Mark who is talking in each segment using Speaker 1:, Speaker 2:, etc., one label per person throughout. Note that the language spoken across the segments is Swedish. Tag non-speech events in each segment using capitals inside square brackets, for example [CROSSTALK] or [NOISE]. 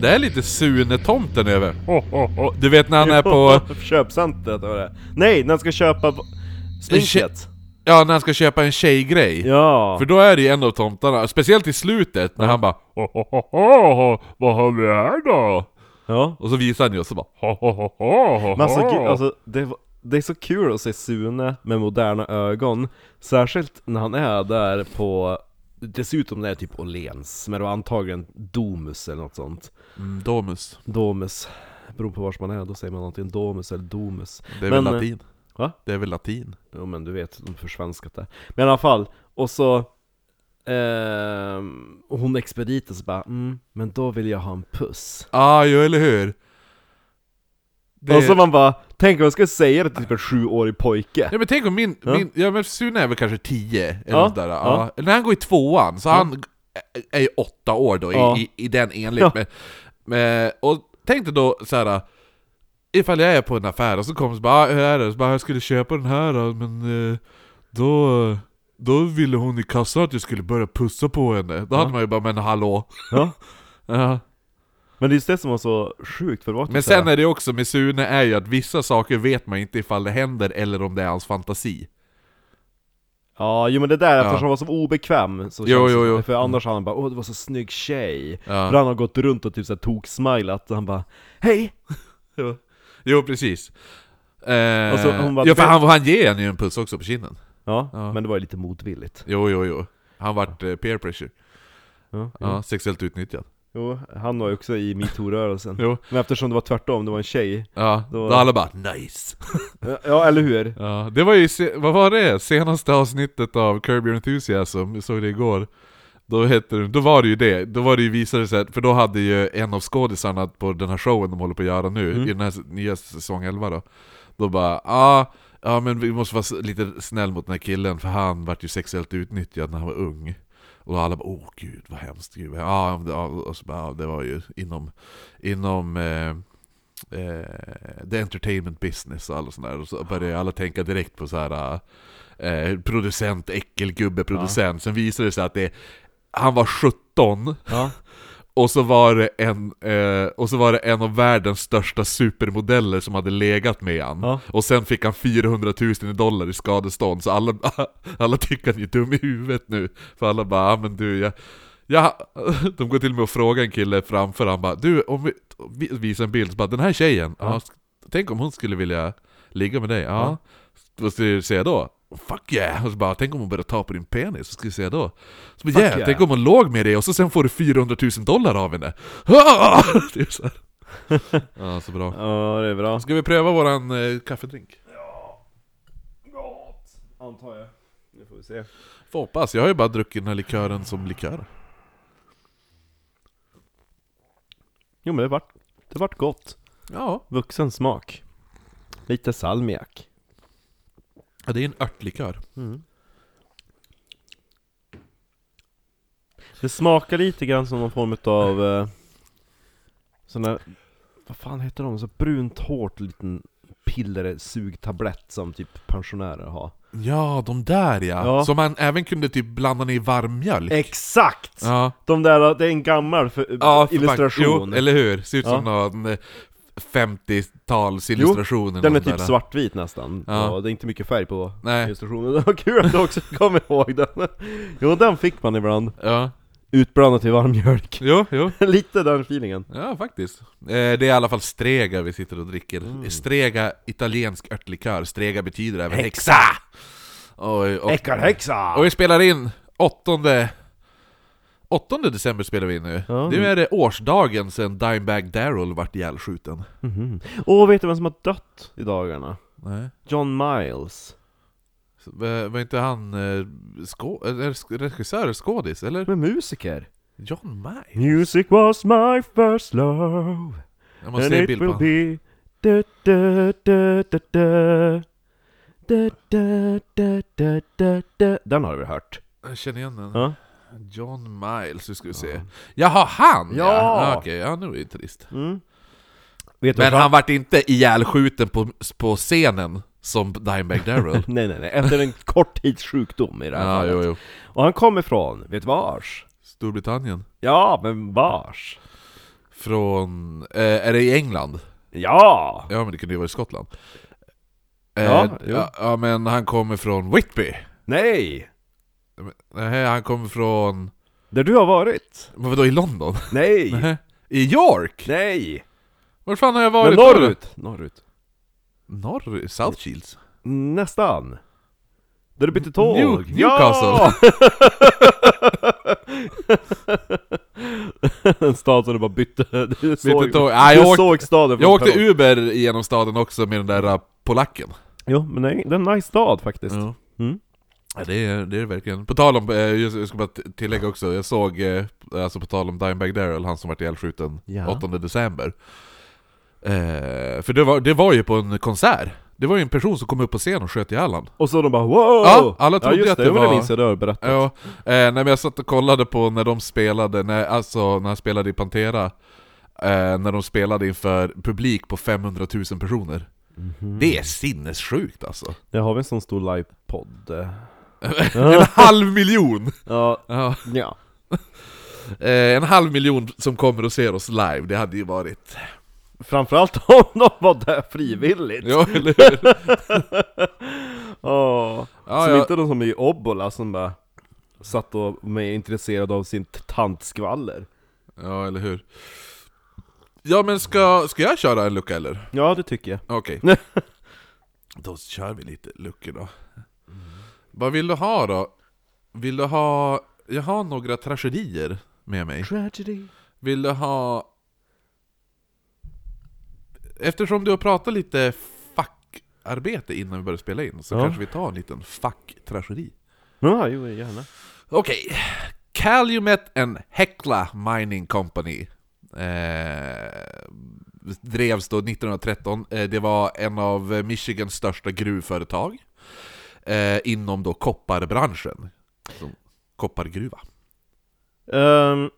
Speaker 1: Det är lite Sune-tomten över. Oh, oh, oh. Du vet när
Speaker 2: [LAUGHS]
Speaker 1: han är [LAUGHS] på...
Speaker 2: Köpcentret var det. Nej, när han ska köpa v- sminket.
Speaker 1: Ja, när han ska köpa en tjejgrej.
Speaker 2: Ja.
Speaker 1: För då är det ju en av tomtarna, speciellt i slutet när han bara oh, oh, oh, oh, Vad har vi här då?
Speaker 2: ja.
Speaker 1: Och så visar han ju och så bara oh, oh, oh,
Speaker 2: Men alltså, gud, alltså det, var- det är så kul att se Sune med moderna ögon. Särskilt när han är där på, det ser ut som det är typ Åhléns, men det var antagligen Domus eller något sånt.
Speaker 1: mm, Domus,
Speaker 2: Domus, beror på vars man är, då säger man antingen Domus eller Domus.
Speaker 1: det är väl
Speaker 2: Men, eh,
Speaker 1: latin?
Speaker 2: va?
Speaker 1: Det är väl latin?
Speaker 2: Jo men du vet, de försvanskat det. Men i alla fall, och så ehm, och hon expediten så bara mm, men då vill jag ha en puss.
Speaker 1: Ja, ah, jo eller hur? Det...
Speaker 2: Och så man bara, tänk om jag skulle säga det till typ en sjuårig pojke.
Speaker 1: Ja men tänk om min,
Speaker 2: Ja.
Speaker 1: min ja men Sune är väl kanske 10 eller
Speaker 2: Ja,
Speaker 1: nåt där. Ja.
Speaker 2: ja.
Speaker 1: När han går i tvåan, så han är- är ju åtta år då
Speaker 2: Ja.
Speaker 1: i, i, i den enligt.
Speaker 2: Ja.
Speaker 1: Men, men, och tänk dig då så här. Ifall jag är på en affär och så kommer så bara ah, hur är det? Så bara jag skulle köpa den här då, men eh, då, då ville hon i kassan att jag skulle börja pussa på henne. Då hade man ju bara men hallå.
Speaker 2: Ja.
Speaker 1: [LAUGHS] Ja.
Speaker 2: Men det är just det som var så sjukt för det var typ
Speaker 1: Men
Speaker 2: så här-
Speaker 1: sen är det också med Sune är ju att vissa saker vet man inte ifall det händer eller om det är hans fantasi.
Speaker 2: Ja, jo men det där,
Speaker 1: Ja.
Speaker 2: eftersom han var så obekväm så
Speaker 1: Jo,
Speaker 2: känns
Speaker 1: jo,
Speaker 2: det-
Speaker 1: jo.
Speaker 2: För annars hade han bara 'Åh, det var så snygg tjej'
Speaker 1: Ja.
Speaker 2: För han har gått runt och typ såhär toksmilat, och han bara 'Hej!'
Speaker 1: Jo, jo precis. Eh,
Speaker 2: Och så hon bara-
Speaker 1: ja, för han, han ger henne ju en puss också på kinden.
Speaker 2: Ja,
Speaker 1: Ja.
Speaker 2: men det var ju lite motvilligt
Speaker 1: Jo, jo, jo. Han vart eh, peer pressure.
Speaker 2: Ja,
Speaker 1: Ja, sexuellt utnyttjad.
Speaker 2: Jo, han var ju också i metoo-rörelsen
Speaker 1: Jo.
Speaker 2: Men eftersom det var tvärtom, det var en tjej
Speaker 1: Ja, då,
Speaker 2: Då-
Speaker 1: alla bara 'nice'
Speaker 2: Ja, eller hur?
Speaker 1: ja, Det var ju, se- vad var det? Senaste avsnittet av Curb Your Enthusiasm, vi såg det igår då, hette det, då var det ju det, då var det ju visade sig att- för då hade ju en av skådisarna på den här showen de håller på att göra nu, i den här s- nya säsong 11 då Då bara ah, ja men vi måste vara s- lite snäll mot den här killen för han vart ju sexuellt utnyttjad när han var ung Och då alla bara åh gud vad hemskt, gud, vad- ja, men det- ja, och så bara, ja, det var ju inom, inom eh, eh, the entertainment business och alla sådär Och så började ju alla tänka direkt på så här eh, producent, äckelgubbe, producent Sen visade det sig att det, han var 17
Speaker 2: Ja,
Speaker 1: och så, var det en, eh, och så var det en av världens största supermodeller som hade legat med han.
Speaker 2: Ja.
Speaker 1: Och sen fick han 400 000 i dollar i skadestånd, så alla, [LAUGHS] alla tycker han är dum i huvudet nu. För alla bara, ah, men du, jag, jag... [LAUGHS] De går till och med och frågar en kille framför, han bara, du, om vi vi- visar en bild, så bara, den här tjejen, ja. sk- tänk om hon skulle vilja ligga med dig? Ja. Vad skulle du säga då? Fuck yeah! Och så bara, tänk om hon börjar ta på din penis, vad ska vi säga då? Så bara,
Speaker 2: Fuck
Speaker 1: yeah,
Speaker 2: yeah.
Speaker 1: tänk om hon låg med dig och så sen får du 400 000 dollar av henne! [LAUGHS] Ah! Det är så här. Ja, så bra.
Speaker 2: ja det är bra
Speaker 1: Ska vi pröva våran eh, kaffedrink?
Speaker 2: Antar jag Nu får vi se
Speaker 1: Får hoppas, jag har ju bara druckit den här likören som likör.
Speaker 2: Jo men det vart, det vart gott
Speaker 1: Ja,
Speaker 2: Vuxen smak Lite salmiak
Speaker 1: Ja, det är en örtlikör.
Speaker 2: Det smakar lite grann som någon form av eh, sån där, vad fan heter de? Så brunt hårt liten piller, sugtablett som typ pensionärer har.
Speaker 1: Ja, de där ja!
Speaker 2: Ja.
Speaker 1: Som man även kunde typ blanda ner i varmmjölk.
Speaker 2: Exakt!
Speaker 1: ja.
Speaker 2: De där, det är en gammal för,
Speaker 1: Ja, förpack-
Speaker 2: illustration.
Speaker 1: Jo, eller hur? Ser ut som någon eh, 50-talsillustration eller
Speaker 2: den är
Speaker 1: något
Speaker 2: typ
Speaker 1: där.
Speaker 2: svartvit nästan,
Speaker 1: Ja.
Speaker 2: och det är inte mycket färg på
Speaker 1: Nej.
Speaker 2: illustrationen. [LAUGHS] Det var kul att du också kom ihåg den! Jo, den fick man ibland,
Speaker 1: Ja,
Speaker 2: utblandat i varm mjölk. [LAUGHS]
Speaker 1: jo, jo.
Speaker 2: Lite den feelingen.
Speaker 1: Ja, faktiskt. Eh, det är i alla fall Strega vi sitter och dricker.
Speaker 2: Mm.
Speaker 1: Strega, italiensk örtlikör. Strega betyder även häxa! Oj, och,
Speaker 2: Äckarhäxa!
Speaker 1: och vi spelar in 8 8 december spelar vi in nu.
Speaker 2: Ja.
Speaker 1: Nu är det årsdagen sedan Dimebag Daryl vart ihjälskjuten.
Speaker 2: Mhm. Och vet du vem som har dött i dagarna?
Speaker 1: Nej.
Speaker 2: John Miles.
Speaker 1: Så, eh, Var inte han eh, skå- eller sk- regissör eller skådis, eller?
Speaker 2: Med musiker.
Speaker 1: John May?
Speaker 2: Music was my first love.
Speaker 1: Jag måste se en bild på honom.
Speaker 2: be... Da, da, da, da, da. Da, da, da, da, da, da. Den har du väl hört?
Speaker 1: Jag känner igen den.
Speaker 2: Ja.
Speaker 1: John Miles, nu ska vi se. Jaha, han ja!
Speaker 2: Ja.
Speaker 1: Okej, ja nu är det trist.
Speaker 2: Mm. Vet du
Speaker 1: Men
Speaker 2: vad-
Speaker 1: han vart inte ihjälskjuten på, på scenen som Dimebag Darrell.
Speaker 2: Nej nej nej, efter en kort tids sjukdom i det här
Speaker 1: [LAUGHS] ja,
Speaker 2: fallet.
Speaker 1: jo, jo.
Speaker 2: Och han kom ifrån, vet du vars?
Speaker 1: Storbritannien.
Speaker 2: Ja, men vars?
Speaker 1: Från... Eh, är det i England?
Speaker 2: Ja!
Speaker 1: Ja men det kunde ju vara i Skottland. Eh,
Speaker 2: Ja, jo.
Speaker 1: ja, ja men han kommer från Whitby.
Speaker 2: Nej!
Speaker 1: Nej, han kommer från...
Speaker 2: Där du har varit?
Speaker 1: Men vadå i London?
Speaker 2: Nej!
Speaker 1: [LAUGHS] Nej. I York?
Speaker 2: Nej!
Speaker 1: Var fan har jag
Speaker 2: Men
Speaker 1: varit då?
Speaker 2: norrut! Norrut.
Speaker 1: Norr? South Shields?
Speaker 2: Nästan. Där du bytte tåg.
Speaker 1: New-
Speaker 2: Ja! [LAUGHS] en stad som du bara bytte. Du såg,
Speaker 1: Bytte tåg. Nej, jag
Speaker 2: du
Speaker 1: åkte-
Speaker 2: såg staden
Speaker 1: Jag
Speaker 2: från
Speaker 1: åkte
Speaker 2: perrong.
Speaker 1: Uber genom staden också med den där äh, polacken.
Speaker 2: Jo, men det är det är en nice stad faktiskt.
Speaker 1: Ja.
Speaker 2: Mm.
Speaker 1: Ja, det, är, det är det verkligen. På tal om, eh, just- jag ska bara t- tillägga också, jag såg, eh, alltså på tal om Dimebag Darrell, han som vart ihjälskjuten
Speaker 2: Ja.
Speaker 1: 8 december. Eh, för det var, det var ju på en konsert. Det var ju en person som kom upp på scen och sköt ihjäl han.
Speaker 2: Och så de bara wow!
Speaker 1: Ja, alla trodde
Speaker 2: just
Speaker 1: att det
Speaker 2: Jo, men
Speaker 1: var-
Speaker 2: det minns jag, det har du berättat.
Speaker 1: Ja, eh, nej, men jag satt och kollade på när de spelade, när, alltså när han spelade i Pantera, eh, när de spelade inför publik på 500 000 personer. Det är sinnessjukt alltså.
Speaker 2: Det har vi en sån stor livepodd. eh.
Speaker 1: En halv miljon!
Speaker 2: Ja,
Speaker 1: Ja.
Speaker 2: ja.
Speaker 1: Eh, en halv miljon som kommer och ser oss live, det hade ju varit...
Speaker 2: Framförallt [LAUGHS] om de var där frivilligt.
Speaker 1: [LAUGHS] Ja, eller hur?
Speaker 2: Ja.
Speaker 1: Ja,
Speaker 2: som
Speaker 1: ja.
Speaker 2: inte de som är i Obbola som bara satt och var intresserade av sin t- tantskvaller.
Speaker 1: ja, eller hur? Ja men ska, ska jag köra en lucka eller?
Speaker 2: Ja, det tycker jag.
Speaker 1: Okej. [LAUGHS] då kör vi lite luckor då. Vad vill du ha då? Vill du ha... Jag har några tragedier med mig.
Speaker 2: Tragedy.
Speaker 1: Vill du ha... Eftersom du har pratat lite fackarbete innan vi började spela in så
Speaker 2: Ja.
Speaker 1: kanske vi tar en liten facktragedi.
Speaker 2: Ja, jo, gärna.
Speaker 1: Okej. Calumet and Hecla Mining Company eh, drevs då 1913. Eh, det var en av eh, Michigans största gruvföretag eh, inom då kopparbranschen. Som koppargruva.
Speaker 2: Ehm,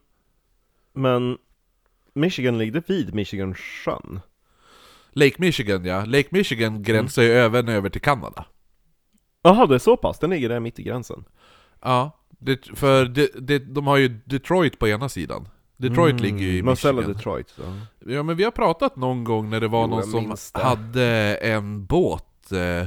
Speaker 2: men Michigan ligger vid Michigan sjön.
Speaker 1: Lake Michigan ja, Lake Michigan gränsar ju även över till Kanada.
Speaker 2: Jaha, det är så pass? Den ligger där mitt i gränsen.
Speaker 1: Ja, det, för det, det, de har ju Detroit på ena sidan. Detroit ligger ju i
Speaker 2: Mm. Marcella
Speaker 1: Michigan.
Speaker 2: Detroit. Så.
Speaker 1: Ja men vi har pratat någon gång när det var
Speaker 2: Jo, jag
Speaker 1: någon
Speaker 2: minns
Speaker 1: som
Speaker 2: det.
Speaker 1: hade en båt eh,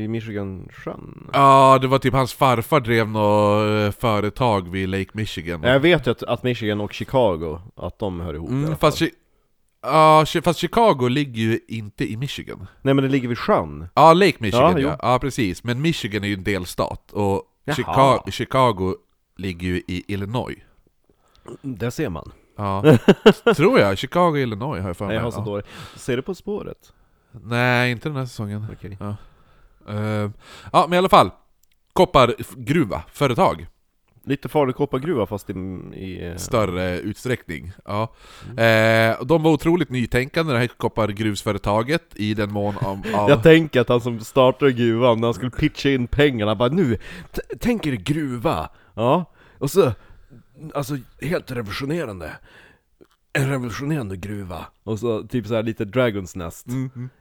Speaker 2: I Michigan sjön.
Speaker 1: Ja, det var typ hans farfar drev något eh, företag vid Lake Michigan
Speaker 2: Jag vet ju att, att Michigan och Chicago, att de hör ihop i
Speaker 1: mm,
Speaker 2: alla
Speaker 1: fast,
Speaker 2: fall.
Speaker 1: chi- ja, chi- fast Chicago ligger ju inte i Michigan
Speaker 2: Nej men det ligger vid sjön.
Speaker 1: Ja, Lake Michigan
Speaker 2: Ja,
Speaker 1: ja,
Speaker 2: jo.
Speaker 1: ja. precis, men Michigan är ju en delstat och
Speaker 2: Jaha.
Speaker 1: Chica- Chicago ligger ju i Illinois
Speaker 2: Där ser man. [LAUGHS]
Speaker 1: Ja, tror jag, Chicago, Illinois har jag för
Speaker 2: Nej,
Speaker 1: mig
Speaker 2: jag har så
Speaker 1: ja.
Speaker 2: dåligt. Ser du På spåret?
Speaker 1: Nej, inte den här säsongen
Speaker 2: Okej.
Speaker 1: Eh, Ja, men i alla fall Koppargruva, företag
Speaker 2: Lite Falukoppargruva fast i... i eh,
Speaker 1: större utsträckning. Ja.
Speaker 2: Mm.
Speaker 1: Eh, och de var otroligt nytänkande, det här koppargruvsföretaget, i den mån om...
Speaker 2: [LAUGHS]
Speaker 1: Av,
Speaker 2: Jag tänker att han som startade gruvan, när han skulle pitcha in pengarna, bara nu, t- tänk er gruva! Ja, och så, alltså helt revolutionerande. En revolutionerande gruva. Och så typ så här lite Dragons Nest.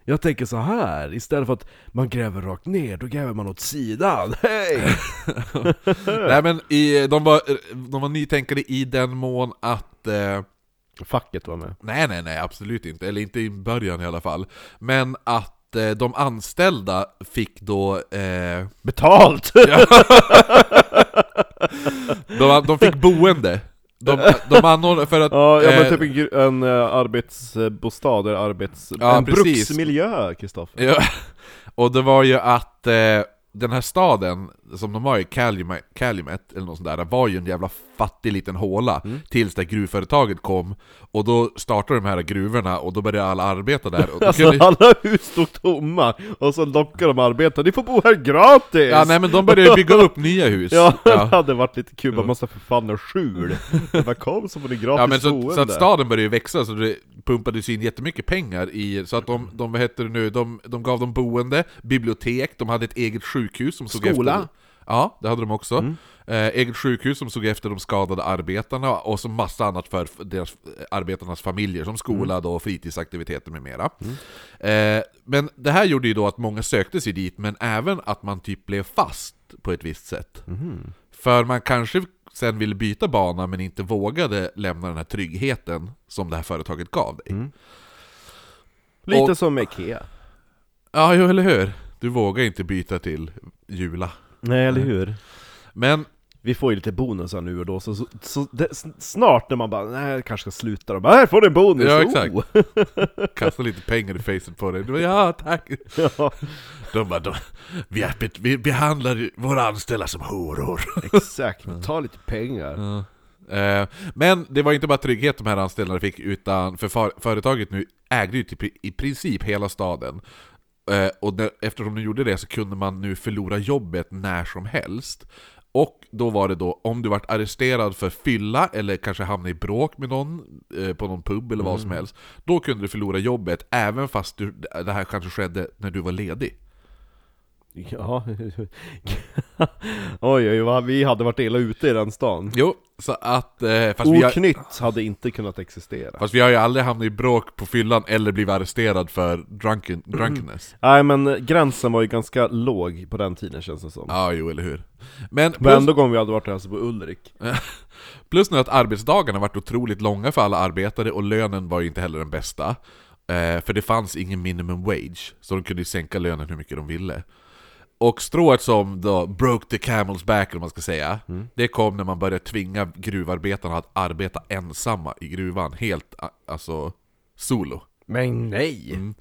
Speaker 2: Jag tänker så här istället för att man gräver rakt ner, då gräver man åt sidan. [LAUGHS] Hej!
Speaker 1: nej men i, de, var, de var nytänkande i den mån att... Eh,
Speaker 2: Facket var med.
Speaker 1: nej, nej, nej, absolut inte. Eller inte i början i alla fall. Men att eh, de anställda fick då... Eh,
Speaker 2: Betalt!
Speaker 1: de, de fick boende. De, de anordnade för att...
Speaker 2: [LAUGHS] Ja, ja men
Speaker 1: eh,
Speaker 2: typ en, gr- en eh, arbetsbostad, eller arbets...
Speaker 1: Ja,
Speaker 2: en
Speaker 1: precis.
Speaker 2: bruksmiljö, Kristoffer.
Speaker 1: Ja, [LAUGHS] och det var ju att eh, den här staden som de var i, Calumet, Calumet eller något sånt där, var ju en jävla fattig liten håla
Speaker 2: Mm.
Speaker 1: tills det här gruvföretaget kom och då startade de här gruvorna och då började alla arbeta där och då
Speaker 2: [LAUGHS] Alltså
Speaker 1: kunde,
Speaker 2: alla hus stod tomma, och så lockar de arbetarna, ni får bo här gratis!
Speaker 1: Ja nej men de började bygga upp nya hus.
Speaker 2: [LAUGHS] Ja,
Speaker 1: Ja.
Speaker 2: det hade varit lite kul, man måste för fan
Speaker 1: [LAUGHS]
Speaker 2: ha skjul! Det bara kom så får ni gratis
Speaker 1: Ja, men så,
Speaker 2: boende!
Speaker 1: så att staden började ju växa, så det pumpades in jättemycket pengar i... Så att de,
Speaker 2: Mm.
Speaker 1: de vad heter det nu, de, de gav dem boende, bibliotek, de hade ett eget sjukhus som såg
Speaker 2: Skola.
Speaker 1: efter... Ja, det hade de också.
Speaker 2: Mm.
Speaker 1: Eh, eget sjukhus som såg efter de skadade arbetarna och så massa annat för f- deras, eh, arbetarnas familjer som skola
Speaker 2: Mm.
Speaker 1: då, fritidsaktiviteter med mera. Eh, men det här gjorde ju då att många sökte sig dit, men även att man typ blev fast på ett visst sätt. För man kanske sen ville byta bana men inte vågade lämna den här tryggheten som det här företaget gav dig.
Speaker 2: Lite
Speaker 1: Och-
Speaker 2: som med Ikea.
Speaker 1: Ja, jo, eller hur? Du vågar inte byta till Jula.
Speaker 2: Nej, eller hur?
Speaker 1: Men
Speaker 2: Vi får ju lite bonusar nu och då, så, så, så det, s- snart när man bara nej jag kanske ska sluta, de bara här får du en bonus!
Speaker 1: Ja,
Speaker 2: Oh!
Speaker 1: exakt. kasta lite pengar i facet på dig. Du bara, ja, tack.
Speaker 2: [LAUGHS] ja,
Speaker 1: De bara, de, vi, är, vi behandlar våra anställda som horor.
Speaker 2: exakt, ta lite pengar.
Speaker 1: Eh, Men det var inte bara trygghet de här anställda fick, utan för fa- företaget nu ägde ju typ i- i princip hela staden. Eh, Och när, eftersom de gjorde det så kunde man nu förlora jobbet när som helst. Och då var det då, om du vart arresterad för fylla eller kanske hamnade i bråk med någon eh, på någon pub eller vad som helst, då kunde du förlora jobbet även fast du, det här kanske skedde när du var ledig.
Speaker 2: Ja, [LAUGHS] oj oj, vad vi hade varit illa ute i den stan.
Speaker 1: Jo, så att... eh, Fast vi har,
Speaker 2: Oknytt hade inte kunnat existera.
Speaker 1: fast vi har ju aldrig hamnat i bråk på fyllan eller blivit arresterad för drunken, drunkenness.
Speaker 2: Nej men eh, gränsen var ju ganska låg på den tiden känns det som.
Speaker 1: Ja, jo eller hur. Men
Speaker 2: Men
Speaker 1: plus,
Speaker 2: ändå gång vi hade varit alltså på Ulrik.
Speaker 1: plus [LAUGHS] nu att arbetsdagarna varit otroligt långa för alla arbetare och lönen var ju inte heller den bästa. Eh, för det fanns ingen minimum wage, så de kunde ju sänka lönen hur mycket de ville. Och strået som då broke the camel's back, eller vad man ska säga, det kom när man började tvinga gruvarbetarna att arbeta ensamma i gruvan, helt a- alltså solo.
Speaker 2: Men nej!
Speaker 1: Mm.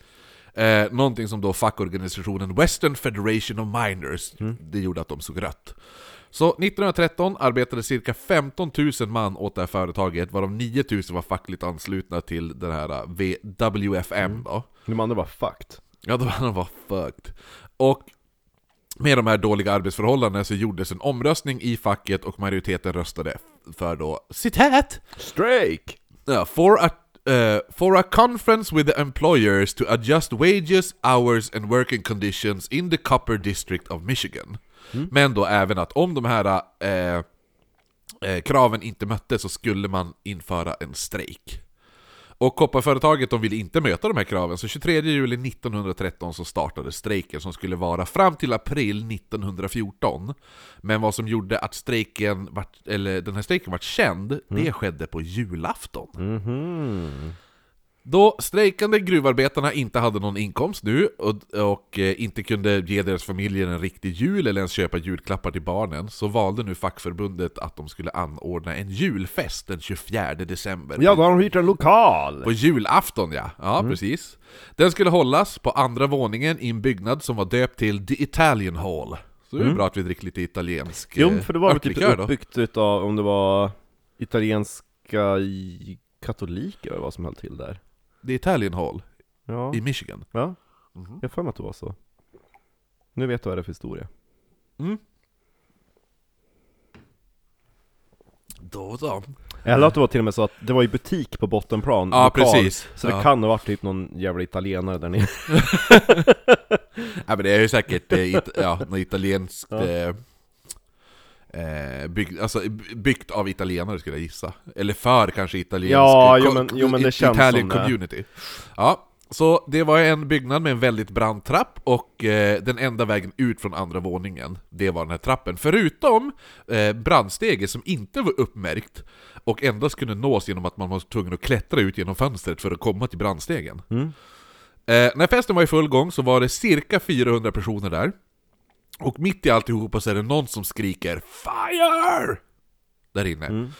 Speaker 1: Eh, någonting som då fackorganisationen Western Federation of Miners, det gjorde att de såg rött. Så 1913 arbetade cirka 15 000 man åt det här företaget, varav 9 000 var fackligt anslutna till den här eh, v- WFM då.
Speaker 2: De andra var fucked.
Speaker 1: Ja, då han var fucked. Och med de här dåliga arbetsförhållandena så gjordes en omröstning i facket och majoriteten röstade f- för då, citat!
Speaker 2: Strake!
Speaker 1: Yeah, for a uh, for a conference with the employers to adjust wages, hours and working conditions in the Copper District of Michigan. Men då även att om de här eh, eh, kraven inte möttes så skulle man införa en strejk. Och kopparföretaget de ville inte möta de här kraven, så 23 juli 1913 så startade strejken som skulle vara fram till april 1914. Men vad som gjorde att strejken vart, eller den här strejken vart känd,
Speaker 2: Mm.
Speaker 1: det skedde på julafton.
Speaker 2: Mhm.
Speaker 1: Då strejkande gruvarbetarna inte hade någon inkomst nu och, och eh, inte kunde ge deras familjer en riktig jul eller ens köpa julklappar till barnen så valde nu fackförbundet att de skulle anordna en julfest den 24 december.
Speaker 2: Ja, då har de hyrt en lokal!
Speaker 1: På julafton ja, ja
Speaker 2: Mm.
Speaker 1: precis. Den skulle hållas på andra våningen i en byggnad som var döpt till The Italian Hall. Så det är bra att vi dricker lite italiensk
Speaker 2: Mm. Jo,
Speaker 1: eh,
Speaker 2: för det var väl
Speaker 1: örtlikör
Speaker 2: typ
Speaker 1: då.
Speaker 2: uppbyggt utav, om det var italienska i- katoliker eller vad som höll till där.
Speaker 1: The Italian Hall
Speaker 2: Ja,
Speaker 1: i Mhm. Michigan.
Speaker 2: ja. jag har för mig att det var så. Nu vet du vad det är för historia.
Speaker 1: Då så.
Speaker 2: Eller att det var till och med så att det var i butik på bottenplan,
Speaker 1: Ja, precis.
Speaker 2: Så det
Speaker 1: Ja.
Speaker 2: kan ha varit typ någon jävla italienare där nere.
Speaker 1: Ja, men det är ju säkert eh, it, ja, något italienskt... Eh, eh, bygg, alltså by- byggt av italienare skulle jag gissa. Eller för kanske italiensk...
Speaker 2: Ja,
Speaker 1: ko-
Speaker 2: jo, men- jo, men det
Speaker 1: it-
Speaker 2: känns
Speaker 1: Italian
Speaker 2: som det.
Speaker 1: community. Ja, så det var en byggnad med en väldigt brant trapp och eh, den enda vägen ut från andra våningen, det var den här trappen. Förutom eh, brandstegen som inte var uppmärkt och endast kunde nås genom att man var tvungen att klättra ut genom fönstret för att komma till brandstegen. Eh, när festen var i full gång så var det cirka 400 personer där. Och mitt i alltihopa så är det någon som skriker 'FIRE!' där inne.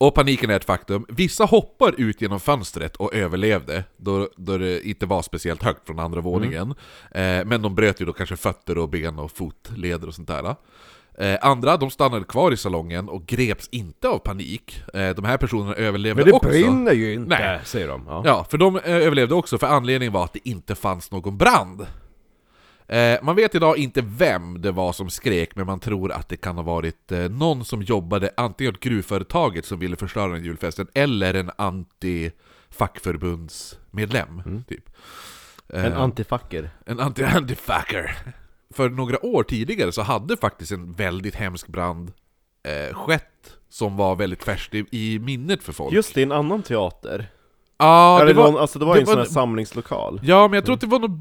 Speaker 1: Och paniken är ett faktum. Vissa hoppar ut genom fönstret och överlevde, då, då det inte var speciellt högt från andra våningen. Eh, men de bröt ju då kanske fötter och ben och fotleder och sånt där. Eh, andra, de stannade kvar i salongen och greps inte av panik. Eh, de här personerna överlevde också.
Speaker 2: ju inte!
Speaker 1: Nej.
Speaker 2: säger de. Ja.
Speaker 1: Ja, för de eh, överlevde också, för anledningen var att det inte fanns någon brand. Eh, man vet idag inte vem det var som skrek, men man tror att det kan ha varit eh, någon som jobbade antingen åt gruvföretaget som ville förstöra den julfesten, eller en anti-fackförbundsmedlem. Typ.
Speaker 2: En antifacker.
Speaker 1: En anti-antifacker. [LAUGHS] för några år tidigare så hade faktiskt en väldigt hemsk brand eh, skett som var väldigt färskt i, i minnet för folk.
Speaker 2: Just det, i en annan teater.
Speaker 1: ja,
Speaker 2: Ja,
Speaker 1: det var,
Speaker 2: någon, alltså det var ju
Speaker 1: det
Speaker 2: en sån
Speaker 1: var-
Speaker 2: här samlingslokal.
Speaker 1: ja, men jag tror att det var något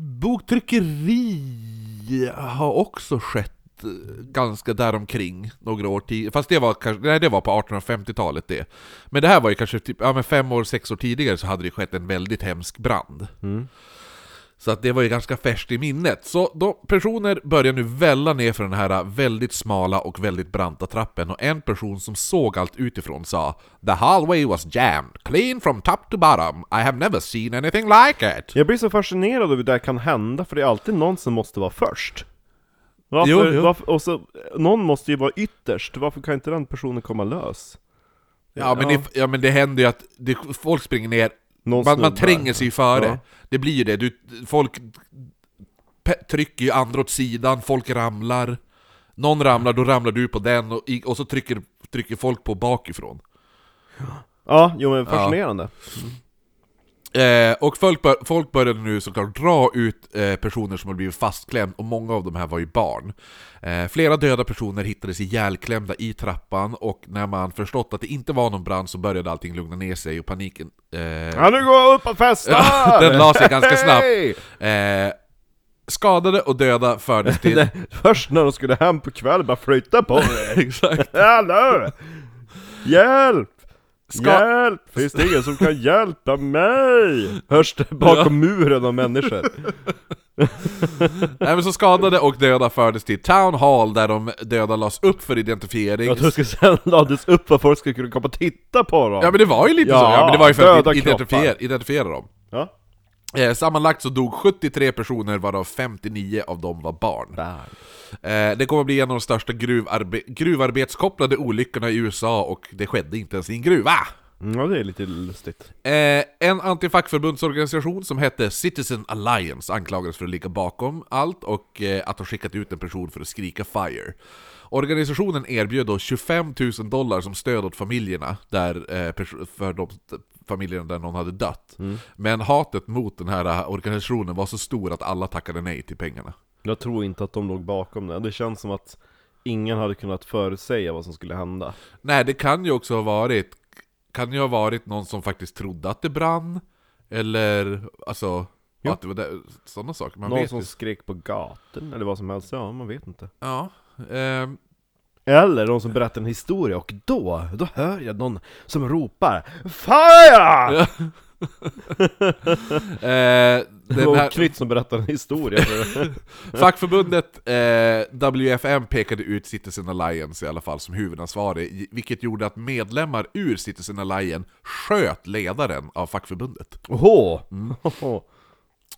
Speaker 1: boktryckeri har också skett eh, ganska däromkring några år tidigare. Fast det var, kanske, nej, det var på 1850-talet det. Men det här var ju kanske typ, ja, men fem år, sex år tidigare så hade det skett en väldigt hemsk brand.
Speaker 2: Mm.
Speaker 1: Så att det var ju ganska färskt i minnet. Så då, personer börjar nu välla ner för den här eh, väldigt smala och väldigt branta trappen och en person som såg allt utifrån sa “The hallway was jammed, clean from top to bottom. I have never seen anything like it”.
Speaker 2: Jag blir så fascinerad över hur det här kan hända, för det är alltid någon som måste vara först. Varför,
Speaker 1: Jo, jo.
Speaker 2: Varför, och så, någon måste ju vara ytterst, varför kan inte den personen komma lös?
Speaker 1: Ja men,
Speaker 2: Ja.
Speaker 1: Det, ja, men det händer ju att det, folk springer ner,
Speaker 2: Någon
Speaker 1: man, man
Speaker 2: snubbar.
Speaker 1: tränger sig före.
Speaker 2: Ja.
Speaker 1: Det blir ju det, du, folk pe- trycker ju andra åt sidan, folk ramlar. Någon ramlar, då ramlar du på den och, i- och så trycker, trycker folk på bakifrån.
Speaker 2: Ja, jo men fascinerande.
Speaker 1: Eh, och folk, bör, folk började nu såklart dra ut eh, personer som hade blivit fastklämd och många av de här var ju barn. Eh, flera döda personer hittades ihjälklämda i trappan och när man förstått att det inte var någon brand så började allting lugna ner sig och paniken... Eh,
Speaker 2: Ja nu går jag upp och
Speaker 1: [LAUGHS]
Speaker 2: festar!
Speaker 1: den la sig ganska
Speaker 2: Hej!
Speaker 1: snabbt. Eh, skadade och döda fördes
Speaker 2: [LAUGHS]
Speaker 1: till...
Speaker 2: Först när de skulle hem på kvällen, bara flytta på
Speaker 1: [LAUGHS]
Speaker 2: dig!
Speaker 1: Exakt.
Speaker 2: Hallå! Hjälp!
Speaker 1: Ska-
Speaker 2: Hjälp! Finns det ingen som kan hjälpa mig? Hörs det bakom muren av människor?
Speaker 1: Nej, men så skadade och döda fördes till Town Hall där de döda lades upp för identifiering.
Speaker 2: [LAUGHS] Jag tror det sen lades upp för att folk skulle kunna komma och titta på dem!
Speaker 1: Ja men det var ju lite
Speaker 2: Ja,
Speaker 1: så, ja, men det var ju för
Speaker 2: döda
Speaker 1: att identifiera,
Speaker 2: kroppar.
Speaker 1: identifiera dem.
Speaker 2: Ja.
Speaker 1: Eh, sammanlagt så dog 73 personer varav 59 av dem var barn. Eh, det kommer bli en av de största gruvarbe- gruvarbetskopplade olyckorna i USA och det skedde inte ens i en gruva!
Speaker 2: Mm, Ja, det är lite lustigt.
Speaker 1: Eh, en antifackförbundsorganisation som hette Citizen Alliance anklagades för att ligga bakom allt och eh, att ha skickat ut en person för att skrika FIRE. Organisationen erbjöd då 25 000 dollar som stöd åt familjerna, där, eh, pers- för de familjerna där någon hade dött.
Speaker 2: Mm.
Speaker 1: Men hatet mot den här eh, organisationen var så stor att alla tackade nej till pengarna.
Speaker 2: Jag tror inte att de låg bakom det. Det känns som att ingen hade kunnat förutsäga vad som skulle hända.
Speaker 1: Nej, det kan ju också ha varit, kan ju ha varit någon som faktiskt trodde att det brann, eller alltså,
Speaker 2: Ja.
Speaker 1: att det var där, sådana saker. Man
Speaker 2: Någon
Speaker 1: vet
Speaker 2: som
Speaker 1: ju-
Speaker 2: skrek på gatan eller vad som helst, ja man vet inte.
Speaker 1: Ja,
Speaker 2: [LAUGHS]
Speaker 1: ehm,
Speaker 2: Eller någon som berättar en historia och då, då hör jag någon som ropar FIRE!
Speaker 1: eh,
Speaker 2: Det
Speaker 1: den
Speaker 2: var
Speaker 1: här,
Speaker 2: Krytt som berättar en [LAUGHS] historia.
Speaker 1: fackförbundet eh, WFM pekade ut Citizen Alliance i alla fall som huvudansvarig, vilket gjorde att medlemmar ur Citizen Alliance sköt ledaren av fackförbundet.
Speaker 2: Åhå!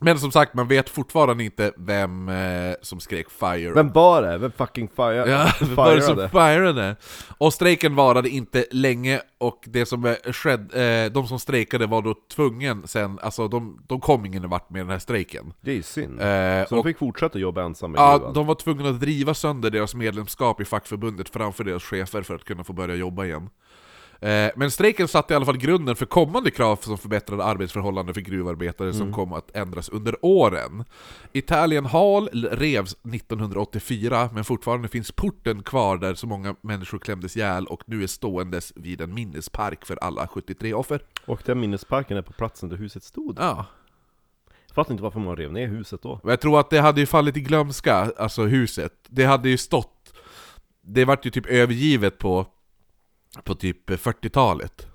Speaker 1: Men som sagt, man vet fortfarande inte vem eh, som skrek fire.
Speaker 2: Vem var det? Vem fucking
Speaker 1: [LAUGHS]
Speaker 2: fire? [LAUGHS]
Speaker 1: Ja, vem var det som
Speaker 2: fireade?
Speaker 1: firade? Och strejken varade inte länge och det som eh, skedde, eh, de som strejkade var då tvungen sen, alltså de, de kom ingen vart med den här strejken.
Speaker 2: Det är ju synd.
Speaker 1: Eh,
Speaker 2: Så de fick fortsätta jobba ensamma i
Speaker 1: Ja,
Speaker 2: gruvan.
Speaker 1: de var tvungna att driva sönder deras medlemskap i fackförbundet framför deras chefer för att kunna få börja jobba igen. Eh, Men strejken satte i alla fall grunden för kommande krav som förbättrade arbetsförhållanden för gruvarbetare som kom att ändras under åren. Italien Hall revs 1984, men fortfarande finns porten kvar där så många människor klämdes ihjäl och nu är ståendes vid en minnespark för alla 73 offer.
Speaker 2: Och den minnesparken är på platsen där huset stod.
Speaker 1: Ja. Eh,
Speaker 2: Jag fattar inte varför man rev ner huset då.
Speaker 1: Och jag tror att det hade ju fallit i glömska, alltså huset. Det hade ju stått... Det vart ju typ övergivet på, på typ 40-talet.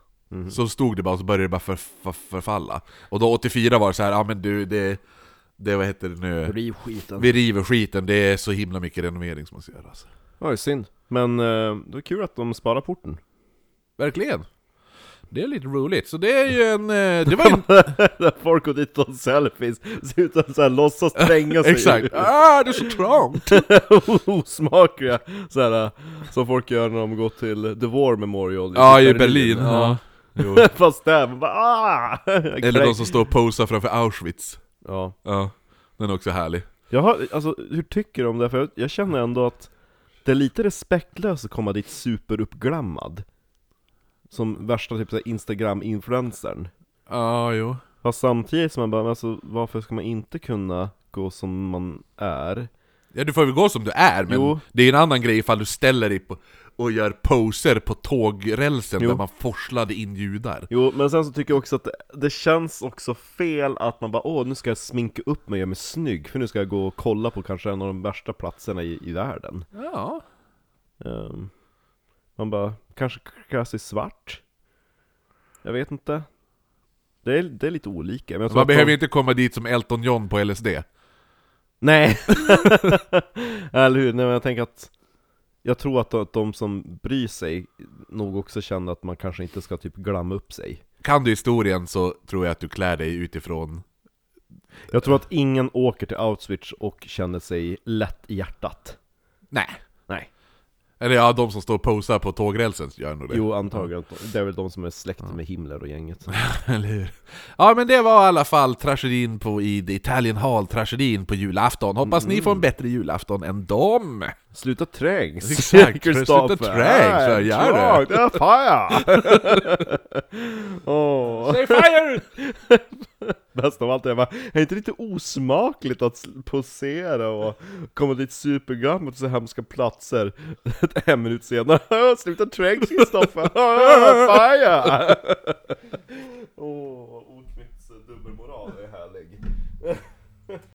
Speaker 1: Så stod det bara och så började det bara för, för, förfalla. Och då 84 var det så här, ja ah, men du, det... Det vad heter det nu?
Speaker 2: Riv skiten.
Speaker 1: Vi river skiten, det är så himla mycket renovering som måste göras.
Speaker 2: Ja, det är synd. Men eh, det är kul att de sparar porten. [LAUGHS]
Speaker 1: Verkligen! Det är lite roligt, så det är ju en... eh, [LAUGHS] Det var ju en...
Speaker 2: Där folk går dit och tar selfies, ser ut att så här
Speaker 1: [LAUGHS]
Speaker 2: låtsas tränga sig
Speaker 1: Exakt!
Speaker 2: ur.
Speaker 1: Ah, det är så trångt!
Speaker 2: [LAUGHS] Osmakliga, så här, eh, som folk gör när de går till The War Memorial
Speaker 1: Ja, i Berlin. Ja. Jo.
Speaker 2: [LAUGHS] Fast där, man bara ah!
Speaker 1: Eller de som står och posar framför Auschwitz.
Speaker 2: Ja.
Speaker 1: Ja, den är också härlig.
Speaker 2: Jag har, alltså, hur tycker du om det? För jag, jag känner ändå att det är lite respektlöst att komma dit superuppglammad. Som värsta typ så här Instagram-influencern.
Speaker 1: Ja, jo.
Speaker 2: Fast samtidigt som man bara, men alltså, varför ska man inte kunna gå som man är?
Speaker 1: Ja, du får väl gå som du är, men
Speaker 2: Jo.
Speaker 1: det är en annan grej ifall du ställer dig på, och gör poser på tågrälsen
Speaker 2: Jo.
Speaker 1: där man forslade in judar.
Speaker 2: Jo, men sen så tycker jag också att det, det känns också fel att man bara åh, nu ska jag sminka upp mig och göra mig snygg, för nu ska jag gå och kolla på kanske en av de värsta platserna i, i världen.
Speaker 1: Ja.
Speaker 2: Ehm, man bara, kanske klär sig svart? Jag vet inte. Det är, det är lite olika. Men jag tror
Speaker 1: Man
Speaker 2: att de-
Speaker 1: behöver inte komma dit som Elton John på LSD. [LAUGHS]
Speaker 2: Nej! [LAUGHS] Eller hur? Nej men jag tänker att Jag tror att de, att de som bryr sig nog också känner att man kanske inte ska typ glamma upp sig
Speaker 1: Kan du historien så tror jag att du klär dig utifrån...
Speaker 2: Jag tror att ingen åker till Auschwitz och känner sig lätt i hjärtat
Speaker 1: Nej.
Speaker 2: Nej
Speaker 1: Eller ja, de som står och posar på tågrälsen gör nog det.
Speaker 2: Jo antagligen, att de- det är väl de som är släkt med Himmler och gänget
Speaker 1: [LAUGHS] Eller hur? Ja men det var i alla fall tragedin på, i The Italian Hall, tragedin på julafton. Hoppas ni får en bättre julafton än dem!
Speaker 2: Sluta trängs!
Speaker 1: Exakt,
Speaker 2: [LAUGHS]
Speaker 1: sluta trängs, vad gör du?
Speaker 2: du? Det är fire!
Speaker 1: [LAUGHS]
Speaker 2: Åh.
Speaker 1: Say fire!
Speaker 2: Bäst av allt är bara, är inte lite osmakligt att sl- posera och komma dit supergammal på så hemska platser? [LAUGHS]
Speaker 1: [LAUGHS]
Speaker 2: En [LAUGHS] minut senare, "Åh, sluta trängs Kristoffer! Åh, Fire!